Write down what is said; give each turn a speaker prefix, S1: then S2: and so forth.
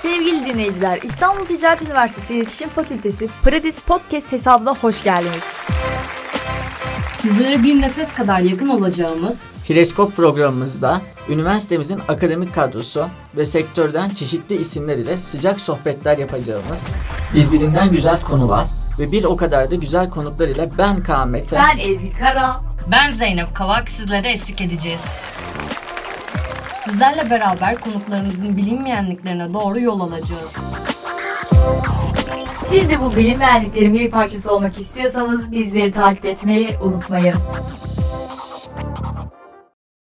S1: Sevgili dinleyiciler, İstanbul Ticaret Üniversitesi İletişim Fakültesi Paradis Podcast hesabına hoş geldiniz.
S2: Sizlere bir nefes kadar yakın olacağımız
S3: Freskop programımızda üniversitemizin akademik kadrosu ve sektörden çeşitli isimler ile sıcak sohbetler yapacağımız birbirinden güzel konular ve bir o kadar da güzel konuklar ile ben Kaan Mete.
S1: Ezgi Kara.
S2: ben Zeynep Kavak sizlere eşlik edeceğiz. Sizlerle beraber konuklarımızın bilinmeyenliklerine doğru yol alacağız.
S1: Siz de bu bilinmeyenliklerin bir parçası olmak istiyorsanız bizleri takip etmeyi unutmayın.